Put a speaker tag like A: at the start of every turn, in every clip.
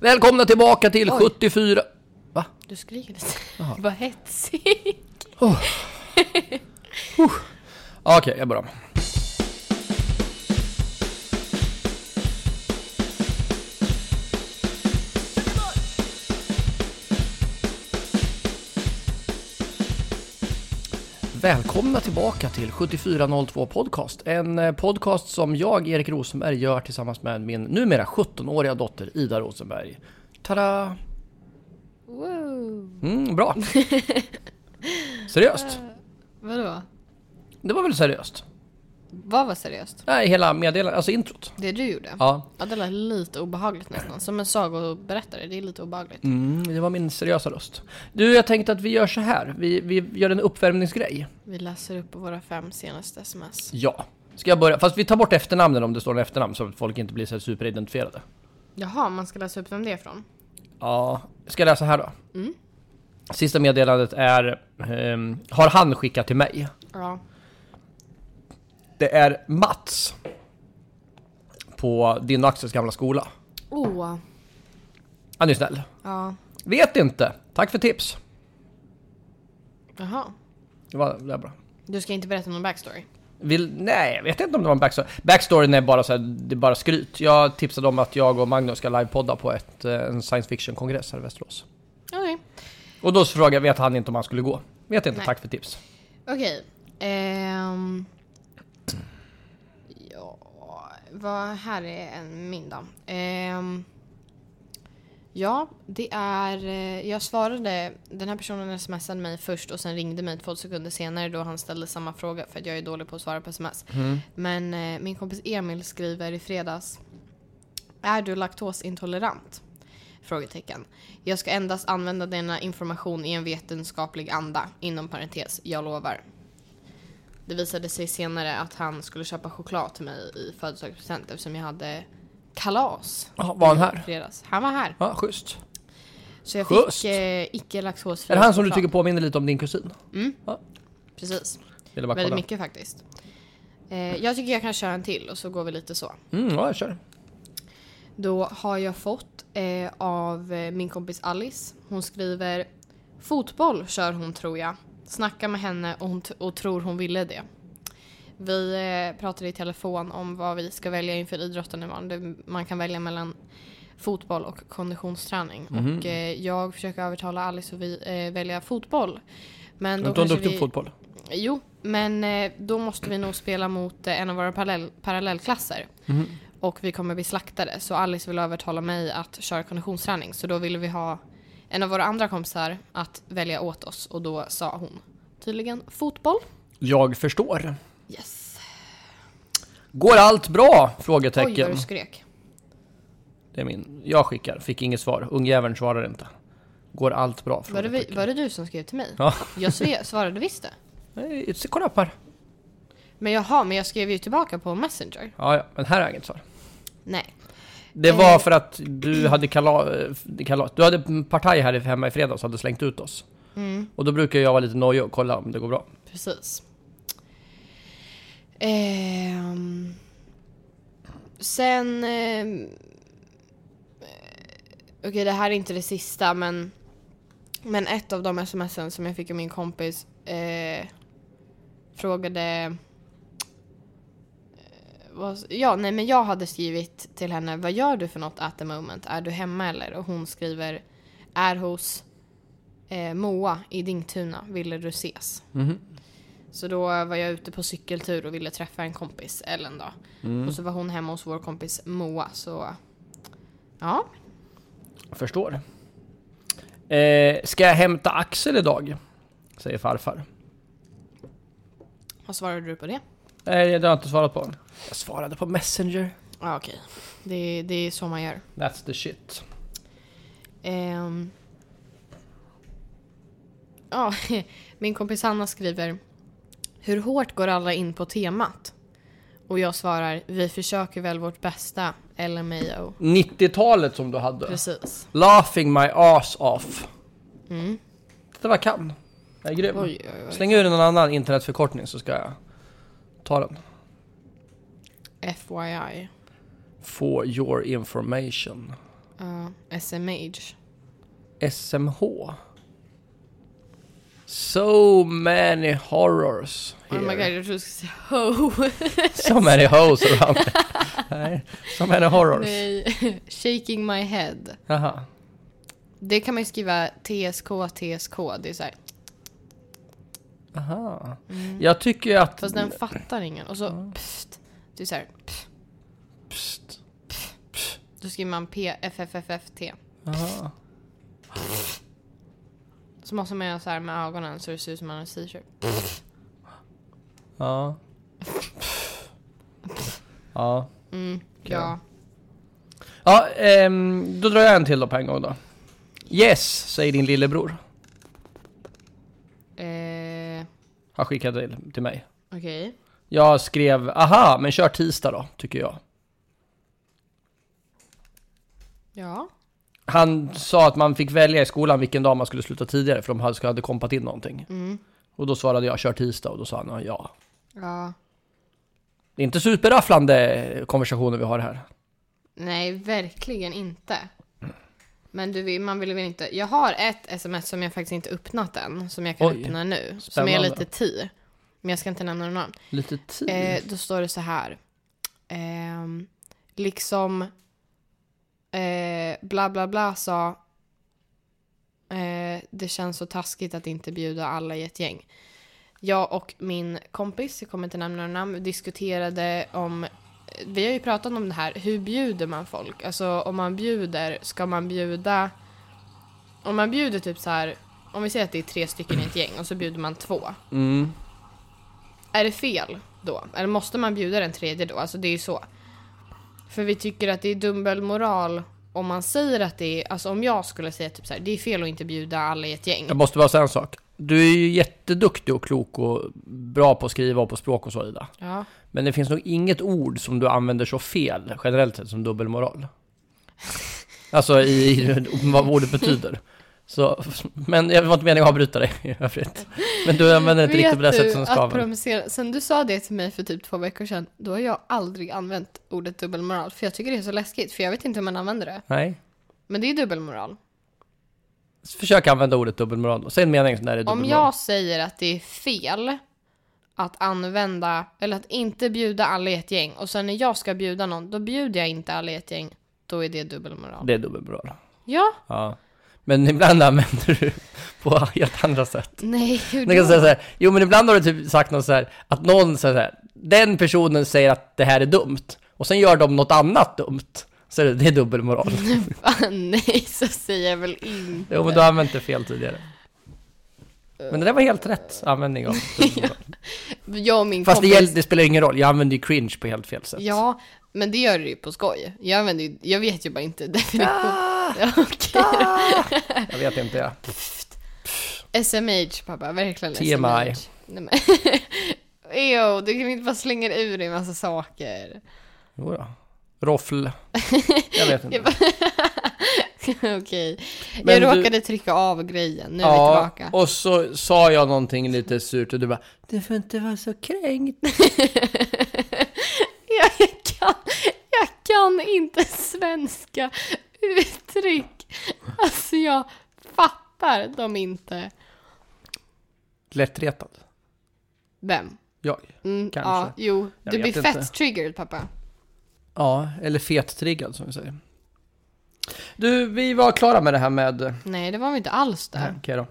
A: Välkomna tillbaka till
B: Oj.
A: 74... Va?
B: Du skriker lite. Vad hetsig.
A: Ah, Okej, jag börjar om. Välkomna tillbaka till 7402 Podcast. En eh, podcast som jag, Erik Rosenberg, gör tillsammans med min numera 17-åriga dotter Ida Rosenberg. Tada!
B: Wow.
A: Mm, bra! Seriöst?
B: Vadå?
A: Det var väl seriöst?
B: Vad var seriöst?
A: Nej, hela meddelandet, alltså introt.
B: Det du gjorde?
A: Ja,
B: Ja, det lät lite obehagligt nästan. Som en sagoberättare, det är lite obehagligt.
A: Mm, det var min seriösa röst. Du, jag tänkte att vi gör så här. Vi, vi gör en uppvärmningsgrej.
B: Vi läser upp våra fem senaste sms.
A: Ja. Ska jag börja? Fast vi tar bort efternamnen om det står en efternamn så att folk inte blir så här superidentifierade.
B: Jaha, man ska läsa upp vem det är från?
A: Ja. Ska jag läsa här då? Sista meddelandet är... ehm, har han skickat till mig?
B: Ja.
A: Det är Mats. På din och Axels gamla skola.
B: Oh.
A: Han är snäll.
B: Ja.
A: Vet inte. Tack för tips.
B: Jaha.
A: Det var, det var bra.
B: Du ska inte berätta någon backstory?
A: Vill, nej, jag vet inte om det var en backstory. Backstoryn är bara, så här, det är bara skryt. Jag tipsade om att jag och Magnus ska livepodda på ett, eh, en science fiction-kongress här i Västerås.
B: Okej.
A: Och då så frågade jag, vet han inte om han skulle gå? Vet inte,
B: Nej.
A: tack för tips.
B: Okej. Ehm. Ja, vad här är en middag. Ehm. Ja, det är... eh, Jag svarade... Den här personen smsade mig först och sen ringde mig två sekunder senare då han ställde samma fråga för att jag är dålig på att svara på sms. Men eh, min kompis Emil skriver i fredags. Är du laktosintolerant? Frågetecken. Jag ska endast använda denna information i en vetenskaplig anda. Inom parentes, jag lovar. Det visade sig senare att han skulle köpa choklad till mig i födelsedagspresent eftersom jag hade kalas.
A: Jaha, var han
B: i
A: här?
B: Fredags. Han var här.
A: Ja, schysst.
B: Så jag
A: Schysst.
B: fick eh, icke laktosfri
A: Är det han som du
B: choklad.
A: tycker påminner lite om din kusin?
B: Precis.
A: Ville bara
B: Väldigt
A: kolla.
B: mycket faktiskt. Eh, jag tycker jag kan köra en till och så går vi lite så.
A: Mm, ja, jag kör.
B: Då har jag fått eh, av eh, min kompis Alice. Hon skriver Fotboll kör hon tror jag. Snacka med henne och, hon t- och tror hon ville det. Vi eh, pratade i telefon om vad vi ska välja inför idrotten imorgon. Det, man kan välja mellan fotboll och konditionsträning. Och eh, jag försöker övertala Alice att vi, eh, välja fotboll. Men
A: Är
B: då
A: inte han
B: kanske
A: duktig
B: vi...
A: på fotboll?
B: Jo, men eh, då måste vi nog spela mot eh, en av våra parallell, parallellklasser.
A: Mhm.
B: Och vi kommer bli slaktade. Så Alice vill övertala mig att köra konditionsträning. Så då ville vi ha en av våra andra kompisar att välja åt oss. Och då sa hon tydligen fotboll.
A: Jag förstår.
B: Yes.
A: Går allt bra?
B: Oj, vad
A: Frågetecken.
B: du skrek.
A: Det är min. Jag skickar, fick inget svar. Ungjäveln svarar inte. Går allt bra?
B: Var det, vi-
A: Frågetecken.
B: var det du som skrev till mig?
A: Ja.
B: Jag sve- svarade visst det.
A: Nej, se, kolla upp här.
B: Men jaha, men jag skrev ju tillbaka på Messenger.
A: Ja, ja, men här är inget svar.
B: Nej.
A: Det
B: Eh.
A: var för att du hade kalas, kala, du hade partaj här i- hemma i fredags och hade slängt ut oss.
B: Mm.
A: Och då brukar jag vara lite nojig och kolla om det går bra.
B: Precis. Ehm. sen... ehm, eh, Okej, det här är inte det sista, men... Men ett av de smsen som jag fick av min kompis eh, frågade... eh, vad- Ja, nej men jag hade skrivit till henne, vad gör du för något at the moment? Är du hemma eller? Och hon skriver, är hos eh, Moa i Dingtuna, ville du ses? Så då var jag ute på cykeltur och ville träffa en kompis, Ellen då. Och så var hon hemma hos vår kompis Moa, så... Ja,
A: Förstår. Eh, ska jag hämta Axel idag? Säger farfar.
B: vad svarade du på det?
A: Nej, det har jag inte svarat på. Jag svarade på Messenger.
B: Ja, okej. Det, det är så man gör.
A: That's the shit.
B: Ehm. Ja, min kompis Hanna skriver Hur hårt går alla in på temat? Och jag svarar Vi försöker väl vårt bästa, LMAO.
A: 90-talet som du hade.
B: Precis.
A: Laughing my ass off. Det var kan. Jag är grym.
B: Mm. Oj, oj, oj.
A: Släng ur någon annan internetförkortning så ska jag ta den.
B: FYI.
A: For your information.
B: Ja, SMH.
A: SMH. So many horrors
B: Oh my god,
A: here.
B: jag trodde du skulle säga ho.
A: so many hoes around. Nej, so many horrors.
B: Nej. Shaking my head.
A: Jaha.
B: Det kan man ju skriva TSK, TSK. Det är så här.
A: Aha. Jag tycker ju att...
B: Fast den fattar ingen. Och så pst. Det är så här. Pst.
A: Psst.
B: Då skriver man PFFFFT.
A: Aha.
B: Så måste man göra så här med ögonen så det ser ut som man har en t-shirt.
A: Ja. Ja.
B: Ja.
A: Ja, ehm, då drar jag en till då på en gång då. Yes, säger din lillebror.
B: Eh,
A: Han skickade till, till mig.
B: Okej.
A: Jag skrev, aha, men kör tisdag då, tycker jag.
B: Ja.
A: Han sa att man fick välja i skolan vilken dag man skulle sluta tidigare för de hade, hade kompat in någonting. Och då svarade jag, kör tisdag, och då sa han ja.
B: Ja.
A: Det är inte superrafflande konversationer vi har här.
B: Nej, verkligen inte. Men du, vill- man vill väl inte... Jag har ett sms som jag faktiskt inte öppnat än, som jag kan
A: Oj.
B: öppna nu. Som är
A: Spännande.
B: lite ti. Men jag ska inte nämna några namn.
A: Lite tid.
B: Eh, då står det så här. Ehm, liksom... Eh, bla, bla, bla sa... Eh, det känns så taskigt att inte bjuda alla i ett gäng. Jag och min kompis, jag kommer inte nämna några namn, diskuterade om... Vi har ju pratat om det här, hur bjuder man folk? Alltså om man bjuder, ska man bjuda... Om man bjuder typ så här... Om vi säger att det är tre stycken i ett gäng och så bjuder man två.
A: Mm.
B: Är det fel då? Eller måste man bjuda den tredje då? Alltså det är ju så. För vi tycker att det är dubbelmoral om man säger att det är, alltså om jag skulle säga typ så här, det är fel att inte bjuda alla i ett gäng.
A: Jag måste bara säga en sak. Du är ju jätteduktig och klok och bra på att skriva och på språk och så Ida.
B: Ja.
A: Men det finns nog inget ord som du använder så fel generellt sett som dubbelmoral. Alltså i, i vad ordet betyder. Så, men jag var inte meningen att avbryta dig i övrigt. Men du använder inte riktigt på det sättet som det ska
B: att
A: användas.
B: provocera, sen du sa det till mig för typ två veckor sedan, då har jag aldrig använt ordet dubbelmoral. För jag tycker det är så läskigt, för jag vet inte hur man använder det.
A: Nej.
B: Men det är dubbelmoral.
A: Försök använda ordet dubbelmoral då. Säg en mening när det är
B: Om
A: dubbelmoral.
B: jag säger att det är fel att använda, eller att inte bjuda alla i ett gäng och sen när jag ska bjuda någon, då bjuder jag inte alla i ett gäng. Då är det dubbelmoral.
A: Det är dubbelmoral.
B: Ja,
A: Ja. Men ibland använder du på helt andra sätt.
B: nej, hur
A: Man kan säga
B: då?
A: så här, jo men ibland har du typ sagt något så här, att någon säger så här, den personen säger att det här är dumt, och sen gör de något annat dumt. Så är det, det är dubbelmoral.
B: Fan, nej, så säger jag väl inte.
A: Jo men du har använt det fel tidigare. Men det där var helt rätt användning av dubbelmoral.
B: Jag och min
A: Fast det,
B: kompis.
A: gäll, det spelar ingen roll, jag använder ju cringe på helt fel sätt.
B: Ja, men det gör du ju på skoj. Jag använder ju, jag vet ju bara inte definition. Ja, Okej.
A: Ah. Jag vet inte jag.
B: SMH pappa, verkligen
A: TMI.
B: SMH. Nej, men. Ew, du kan inte bara slänga ur dig en massa saker.
A: Jo, då. Roffl. Jag vet inte.
B: Jag bara- Okej.
A: Men
B: Jag
A: du-
B: råkade trycka av grejen, nu är vi tillbaka.
A: och så sa jag någonting lite surt och du bara Du får inte vara så kränkt.
B: Jag kan, jag kan inte svenska uttryck. Alltså jag fattar dem inte.
A: Lättretad.
B: Vem?
A: Jag.
B: Mm,
A: Kanske.
B: Ja, jo.
A: Jag
B: Du
A: vet
B: blir
A: inte.
B: fett triggered pappa.
A: Ja, eller fettriggad som vi säger. Du, vi var klara med det här med... Okej
B: Nej, det var vi inte alls där.
A: då.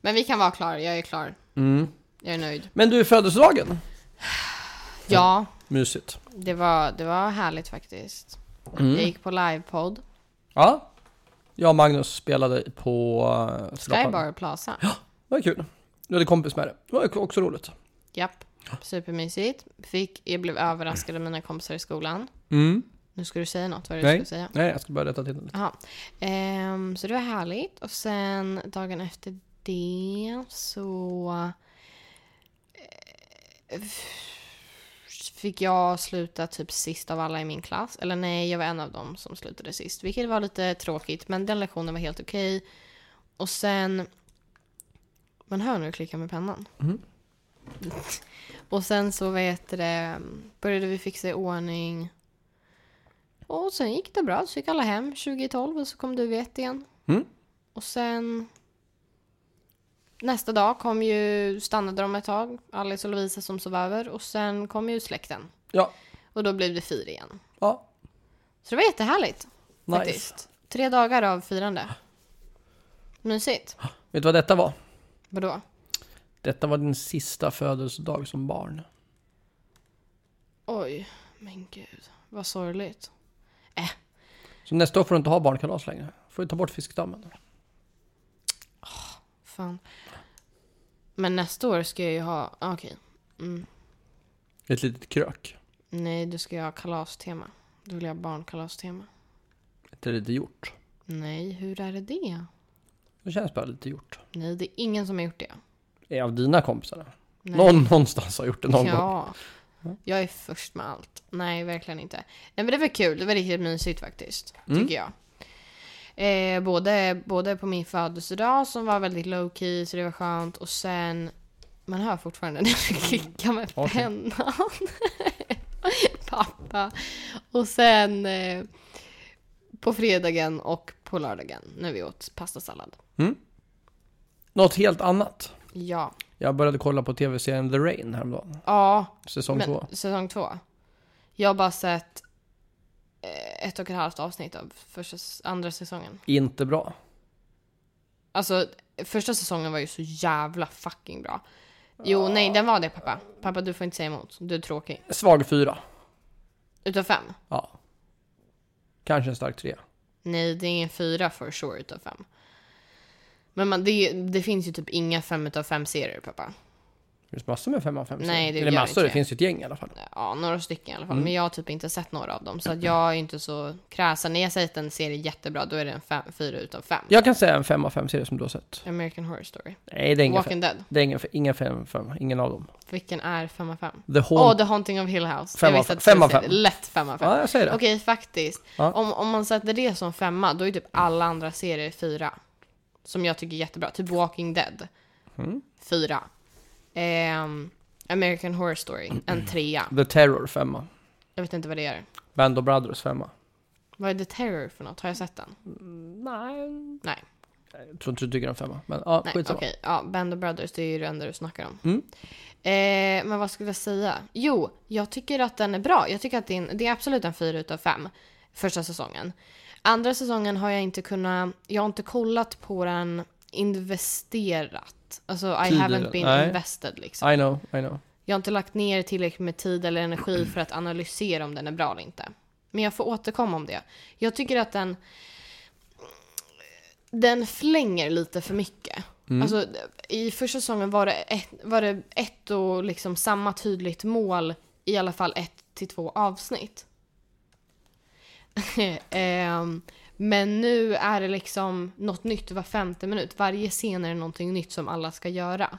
B: Men vi kan vara klara, jag är klar.
A: Mm.
B: Jag är nöjd.
A: Men du, födelsedagen?
B: Ja,
A: Mysigt.
B: det var, det var härligt faktiskt.
A: Mm.
B: Jag gick på livepodd.
A: Ja. Jag och Magnus spelade på... eh, Skrapan.
B: Skybar Plaza.
A: Det var kul. Du hade kompis med det. Det var också roligt.
B: Japp, supermysigt. Fick, jag blev överraskad av mina kompisar i skolan.
A: Mm.
B: Nu ska du säga något, vad är det du
A: Nej.
B: skulle säga?
A: Nej, jag ska bara rätta till det lite.
B: Jaha. Ehm, så det var härligt. Och sen dagen efter det så eh, fick jag sluta typ sist av alla i min klass. Eller nej, jag var en av dem som slutade sist. Vilket var lite tråkigt, men den lektionen var helt okej. Och sen... Man hör nu klicka med pennan. Och sen så vet det, började vi fixa i ordning Och sen gick det bra, så fick alla hem 2012 och så kom du vet igen.
A: Mm.
B: Och sen nästa dag kom ju, stannade de ett tag, Alice och Lovisa som sov över och sen kom ju släkten.
A: Ja.
B: Och då blev det fyr igen.
A: Ja.
B: Så det var jättehärligt
A: Nice.
B: faktiskt. Tre dagar av firande. Mysigt.
A: Vet du vad detta var?
B: Vadå?
A: Detta var din sista födelsedag som barn.
B: Oj, men gud. Vad sorgligt.
A: Så nästa år får du inte ha barnkalas längre. Får du ta bort fiskdammen.
B: Fan. Men nästa år ska jag ju ha, ah, okej. Mm.
A: Ett litet krök.
B: Nej, då ska jag ha kalastema. Då vill jag ha barnkalastema.
A: Ett litet gjort.
B: Nej, hur är det det?
A: Det känns bara lite gjort.
B: Nej, det är ingen som har gjort det.
A: Är av dina kompisar.
B: Nej.
A: Någon någonstans har gjort det någon gång.
B: ja. Jag är först med allt. Nej, verkligen inte. Nej, men det var kul. Det var riktigt mysigt faktiskt,
A: Mm.
B: tycker jag. Eh, både, både på min födelsedag som var väldigt low key, så det var skönt. Och sen, man hör fortfarande när jag klickar med
A: Okej.
B: pennan. Pappa. Och sen eh, på fredagen och på lördagen när vi åt pastasallad.
A: Något helt annat.
B: Ja.
A: Jag började kolla på tv-serien The Rain häromdagen.
B: Ja,
A: Säsong
B: Men-
A: två.
B: Säsong två. Jag har bara sett eh, ett och ett halvt avsnitt av första, s- andra säsongen.
A: Inte bra.
B: Alltså, första säsongen var ju så jävla fucking bra. Jo, nej, den var det pappa. Pappa, du får inte säga emot. Du är tråkig.
A: Svag fyra.
B: Utav fem?
A: Ja. Kanske en stark tre.
B: Nej, det är ingen fyra for sure utav fem. Men man, det, det finns ju typ inga fem utav fem serier pappa.
A: Det finns massor med fem av fem.
B: Nej,
A: serier.
B: det
A: Eller
B: gör
A: massor,
B: inte
A: det
B: det.
A: finns ju ett gäng i alla fall.
B: Ja, några stycken i alla fall.
A: Mm.
B: Men jag har typ inte sett några av dem. Så att jag är inte så kräsen. När jag säger att en serie är jättebra, då är det en fem, fyra utav fem.
A: Jag kan säga en fem av fem serie som du har sett.
B: American Horror Story.
A: Nej, det är ingen fem.
B: Walking Dead.
A: Det är ingen, inga fem, fem, ingen av dem.
B: Vilken är 5 av 5?
A: The Haunt.
B: Åh, The Haunting of Hill House.
A: Fem
B: jag
A: av
B: visste
A: fem.
B: att du
A: Fem av fem.
B: skulle säga det. Lätt 5 av 5.
A: ja, jag säger det.
B: Okej, faktiskt.
A: Ja.
B: Om, om man sätter det som femma, då är typ alla andra serier fyra. Som jag tycker är jättebra. Typ Walking Dead.
A: Mm.
B: Fyra. Ehm, American Horror Story, en trea.
A: The Terror femma.
B: Jag vet inte vad det är.
A: Band of Brothers femma.
B: Vad är The Terror för något? Har jag sett den?
A: Nej.
B: Nej.
A: Jag tror inte du tycker om femma. Men ja,
B: Nej, okej.
A: skitsamma.
B: Ja, Band of Brothers, det är ju det enda du snackar om.
A: Mm.
B: Eh, men vad skulle jag säga? Jo, jag tycker att den är bra. Jag tycker att det är, en, det är absolut en fyra utav fem första säsongen. Andra säsongen har jag inte kunnat, jag har inte kollat på den investerat. Alltså I
A: Tidigare,
B: haven't been
A: nej.
B: invested liksom.
A: I know, I know.
B: Jag har inte lagt ner tillräckligt med tid eller energi för att analysera om den är bra eller inte. Men jag får återkomma om det. Jag tycker att den... Den flänger lite för mycket. Alltså, I första säsongen var det, ett, var det ett och liksom samma tydligt mål i alla fall ett till två avsnitt. Ehm, men nu är det liksom något nytt var femte minut. Varje scen är det någonting nytt som alla ska göra.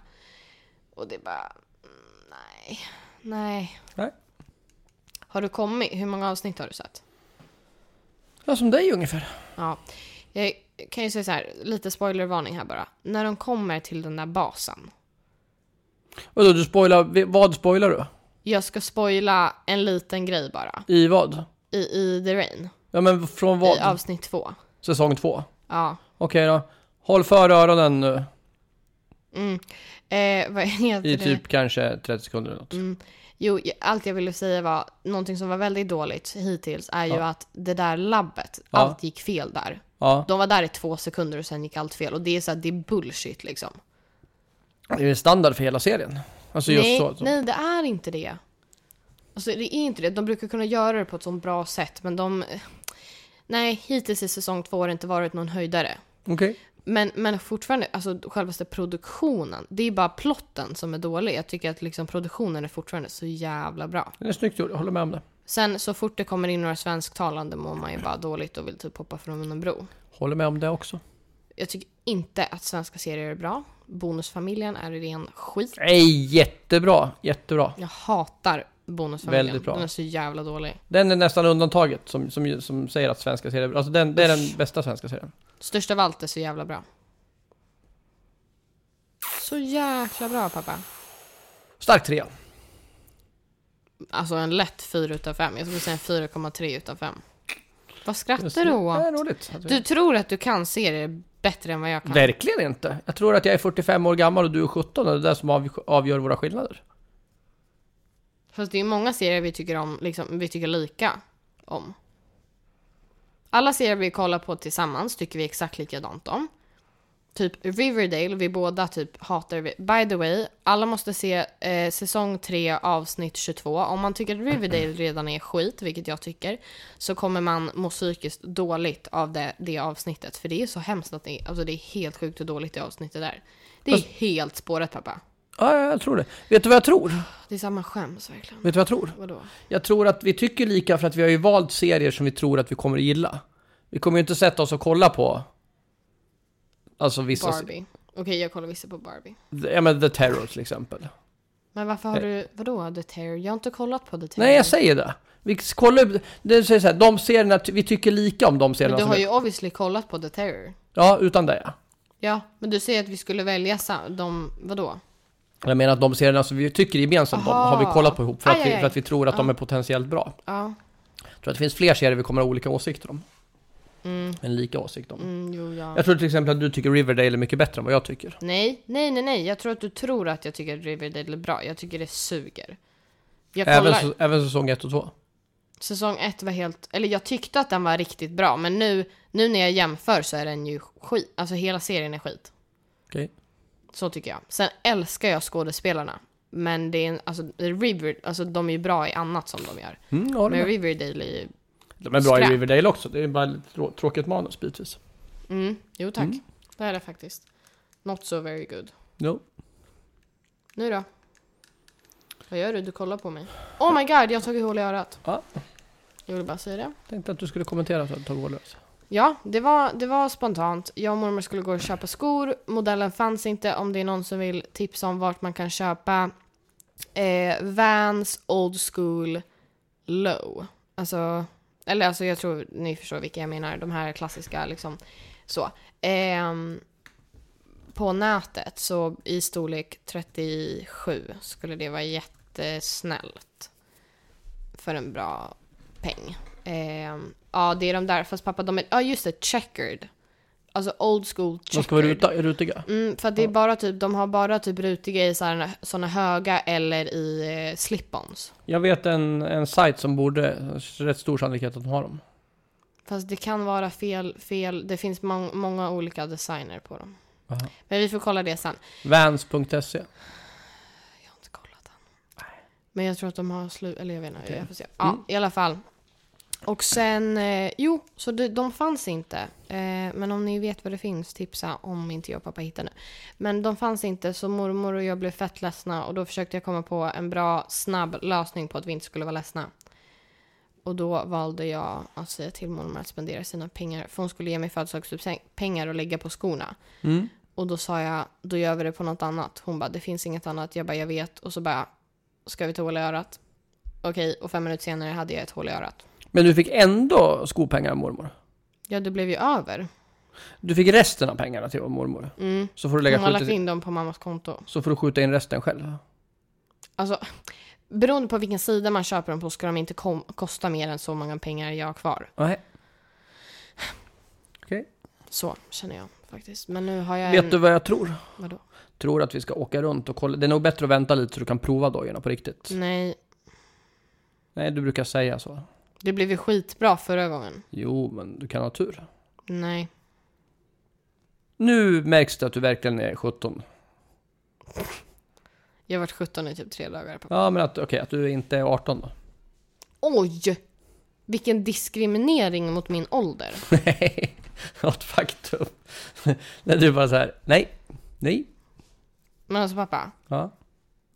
B: Och det är bara... Nej. Nej.
A: Nej.
B: Har du kommit? Hur många avsnitt har du sett?
A: Ja, som dig ungefär.
B: Ja. Jag kan ju säga så här, lite spoilervarning här bara. När de kommer till den där basen.
A: Vadå, du spoilar, vad spoilar du?
B: Jag ska spoila en liten grej bara.
A: I vad?
B: I, i The Rain.
A: Ja, men från vad?
B: I avsnitt två.
A: Säsong två.
B: Ja.
A: Okej då. Håll för öronen nu
B: Mm. Eh, vad heter
A: i
B: det? Mm.
A: typ kanske 30 sekunder eller något.
B: Jo, jag- allt jag ville säga var, någonting som var väldigt dåligt hittills är ju
A: Ja.
B: att det där labbet,
A: Ja.
B: allt gick fel där.
A: Ja,
B: De var där i två sekunder och sen gick allt fel. Och det är så här, det är bullshit liksom.
A: det är standard för hela serien. Alltså just
B: nej,
A: så. så.
B: nej, det är inte det. Alltså, det är inte det. De brukar kunna göra det på ett sånt bra sätt, men de... Nej, hittills i säsong två har det inte varit någon höjdare.
A: Okej.
B: Men, men fortfarande, alltså självaste produktionen. Det är bara plotten som är dålig. Jag tycker att liksom produktionen är fortfarande så jävla bra.
A: Den är snyggt gjord, jag håller med om det.
B: Sen så fort det kommer in några svensktalande mår man ju bara dåligt och vill typ hoppa från en bro.
A: Håller med om det också.
B: Jag tycker inte att svenska serier är bra. Bonusfamiljen är ren skit.
A: Nej, jättebra, jättebra.
B: Jag hatar Bonusfamiljen.
A: Väldigt bra.
B: Den är så jävla dålig.
A: Den är nästan undantaget som, som, som säger att svenska serier, alltså den, det är den bästa svenska serien.
B: Största av allt är så jävla bra. Så jäkla bra pappa.
A: Stark trea.
B: Alltså en lätt 4 utav 5. Jag skulle säga en 4,3 utav 5. Vad
A: Just
B: skrattar du
A: Det är
B: åt?
A: roligt. att vi-
B: Du tror att du kan se det bättre än vad jag kan?
A: Verkligen inte. Jag tror att jag är 45 år gammal och du är 17 och det är det som avg- avgör våra skillnader.
B: Fast det är många serier vi tycker om, liksom, vi tycker lika om. Alla serier vi kollar på tillsammans tycker vi exakt likadant om. Typ Riverdale, vi båda typ hatar... vi- By the way, alla måste se eh, säsong 3 avsnitt 22. Om man tycker att Riverdale redan är skit, vilket jag tycker, så kommer man må psykiskt dåligt av det, det avsnittet. För det är så hemskt att det är, alltså det är helt sjukt hur dåligt det avsnittet är. Det är helt spåret pappa.
A: Ja, ja, jag tror det. Vet du vad jag tror?
B: Det är samma skäms verkligen.
A: Vet du vad jag tror?
B: Vadå?
A: Jag tror att vi tycker lika för att vi har ju valt serier som vi tror att vi kommer att gilla. Vi kommer ju inte sätta oss och kolla på... Alltså vissa...
B: Barbie. Okej, jag kollar vissa på Barbie.
A: Ja men The Terror till exempel.
B: Men varför har du, vadå The Terror? Jag har inte kollat på The Terror.
A: Eh. Nej jag säger det. Vi kollar Det säger så här, de serierna, vi tycker lika om de serierna
B: men du har
A: som
B: ju obviously kollat på The Terror.
A: Ja, utan det ja.
B: Ja, men du säger att vi skulle välja sam- de, vadå?
A: Jag menar att de serierna som vi tycker gemensamt om
B: Aha.
A: har vi kollat på ihop för
B: Aj,
A: att,
B: aj,
A: vi,
B: aj.
A: för att vi tror att de är potentiellt bra.
B: Ja,
A: Jag tror att det finns fler serier vi kommer att ha olika åsikter om.
B: Mm.
A: Än lika åsikt om.
B: mm, jo ja.
A: Jag tror till exempel att du tycker Riverdale är mycket bättre än vad jag tycker.
B: Nej, nej, nej, nej. Jag tror att du tror att jag tycker att Riverdale är bra. Jag tycker det suger. Jag kollar.
A: Även, så, även säsong 1 och 2.
B: Säsong ett var helt, eller jag tyckte att den var riktigt bra, men nu, nu när jag jämför så är den ju skit. Alltså hela serien är skit.
A: Okej.
B: Så tycker jag. Sen älskar jag skådespelarna. Men det är en, alltså, River, alltså de är ju bra i annat som de gör.
A: Mm, ja, det
B: Men
A: är bra.
B: Riverdale är ju...
A: De är bra i
B: skräp.
A: Riverdale också. Det är bara lite trå- tråkigt manus bitvis.
B: Mm, jo tack.
A: Mm.
B: Det är det faktiskt. Not so very good.
A: Jo.
B: Nu då? Vad gör du? Du kollar på mig. Oh my god, jag har tagit hål i örat.
A: Ja.
B: Jag ville bara säga det.
A: Tänkte att du skulle kommentera så att det tar vårdlöst.
B: Ja, det var, det var spontant. Jag och mormor skulle gå och köpa skor. Modellen fanns inte. Om det är någon som vill tipsa om vart man kan köpa eh, Vans Old School Low. Alltså, eller alltså jag tror ni förstår vilka jag menar. De här klassiska liksom. Så. Ehm, på nätet så i storlek 37 skulle det vara jättesnällt. För en bra peng. Ehm, ja, det är de där. Fast pappa, de är... Ja, just det. Checkered. Alltså old school checkered.
A: De ska vara ruta, rutiga.
B: Mm, för att det är bara typ, de har bara typ rutiga i sådana höga eller i eh, slip-ons.
A: Jag vet en, en sajt som borde, rätt stor sannolikhet att de har dem.
B: Fast det kan vara fel, fel. Det finns mång- många olika designer på dem.
A: Aha.
B: Men vi får kolla det sen.
A: Vans.se.
B: Jag har inte kollat än. Men jag tror att de har slut, eller jag vet inte,
A: Okej.
B: jag får se. Ja, i alla fall. Och sen, eh, jo, så de, de fanns inte. Eh, men om ni vet vad det finns, tipsa om inte jag och pappa hittar nu. Men de fanns inte, så mormor och jag blev fett ledsna och då försökte jag komma på en bra, snabb lösning på att vi inte skulle vara ledsna. Och då valde jag att säga till mormor att spendera sina pengar, för hon skulle ge mig födelsedagspengar och lägga på skorna.
A: Mm.
B: Och då sa jag, då gör vi det på något annat. Hon bara, det finns inget annat. Jag bara, jag vet. Och så bara, ska vi ta hål i örat? Okej, och fem minuter senare hade jag ett hål i örat.
A: Men du fick ändå skopengar av mormor.
B: Ja, det blev ju över.
A: Du fick resten av pengarna till mormor.
B: Mm.
A: Så får du
B: Hon
A: lägga
B: har lagt
A: skjuta in.
B: in dem på mammas konto.
A: Så får du skjuta in resten själv.
B: Alltså, beroende på vilken sida man köper dem på ska de inte kom- kosta mer än så många pengar jag har kvar.
A: Nej. Okej.
B: Så känner jag faktiskt. Men nu har jag en...
A: Vet du vad jag tror?
B: Vadå?
A: Tror att vi ska åka runt och kolla. Det är nog bättre att vänta lite så du kan prova dojorna på riktigt.
B: Nej,
A: Nej, du brukar säga så.
B: det blev ju skitbra förra gången.
A: Jo, men du kan ha tur.
B: Nej.
A: Nu märks det att du verkligen är 17.
B: Jag har varit 17 i typ tre dagar. På.
A: Ja, men att, okej, att du inte är 18 då.
B: Oj! Vilken diskriminering mot min ålder.
A: Nej, något faktum. När du bara så här, nej, nej.
B: Men alltså pappa,
A: Ja.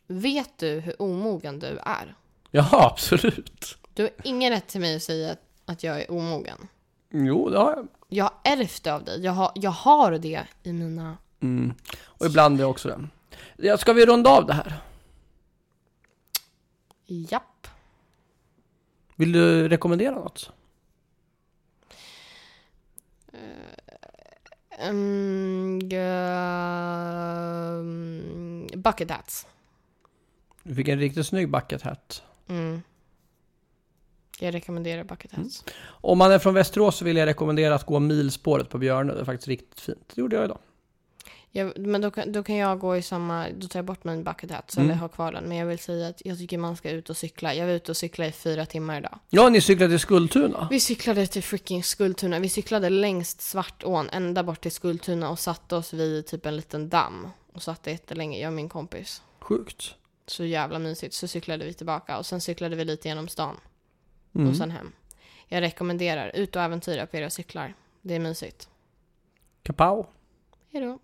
B: vet du hur omogen du är?
A: Jaha, absolut.
B: Du har ingen rätt till mig att säga att, att jag är omogen.
A: Jo, det har jag.
B: Jag har ärvt det av dig. Jag har, jag har det i mina...
A: Mm. Och ibland är jag också det. Ja, ska vi runda av det här?
B: Japp.
A: Vill du rekommendera något?
B: Mm, um, bucket hats.
A: Du fick en riktigt snygg bucket hat.
B: Mm. Jag rekommenderar Bucket Heads.
A: Om man är från Västerås så vill jag rekommendera att gå milspåret på Björnö. Det är faktiskt riktigt fint. Det gjorde jag idag.
B: Jag, men då, kan- då kan jag gå i samma, då tar jag bort min bucket hat så
A: Mm.
B: eller har kvar den. Men jag vill säga att jag tycker man ska ut och cykla. Jag var ute och cyklade i fyra timmar idag.
A: Ja, ni cyklade till Skultuna.
B: Vi cyklade till freaking Skultuna. Vi cyklade längst Svartån ända bort till Skultuna och satte oss vid typ en liten damm. Och satt där jättelänge, jag och min kompis.
A: Sjukt.
B: Så jävla mysigt. Så cyklade vi tillbaka och sen cyklade vi lite genom stan
A: Mm.
B: och sen hem. Jag rekommenderar, ut och äventyra på era cyklar. Det är mysigt.
A: Kapow.
B: Hejdå.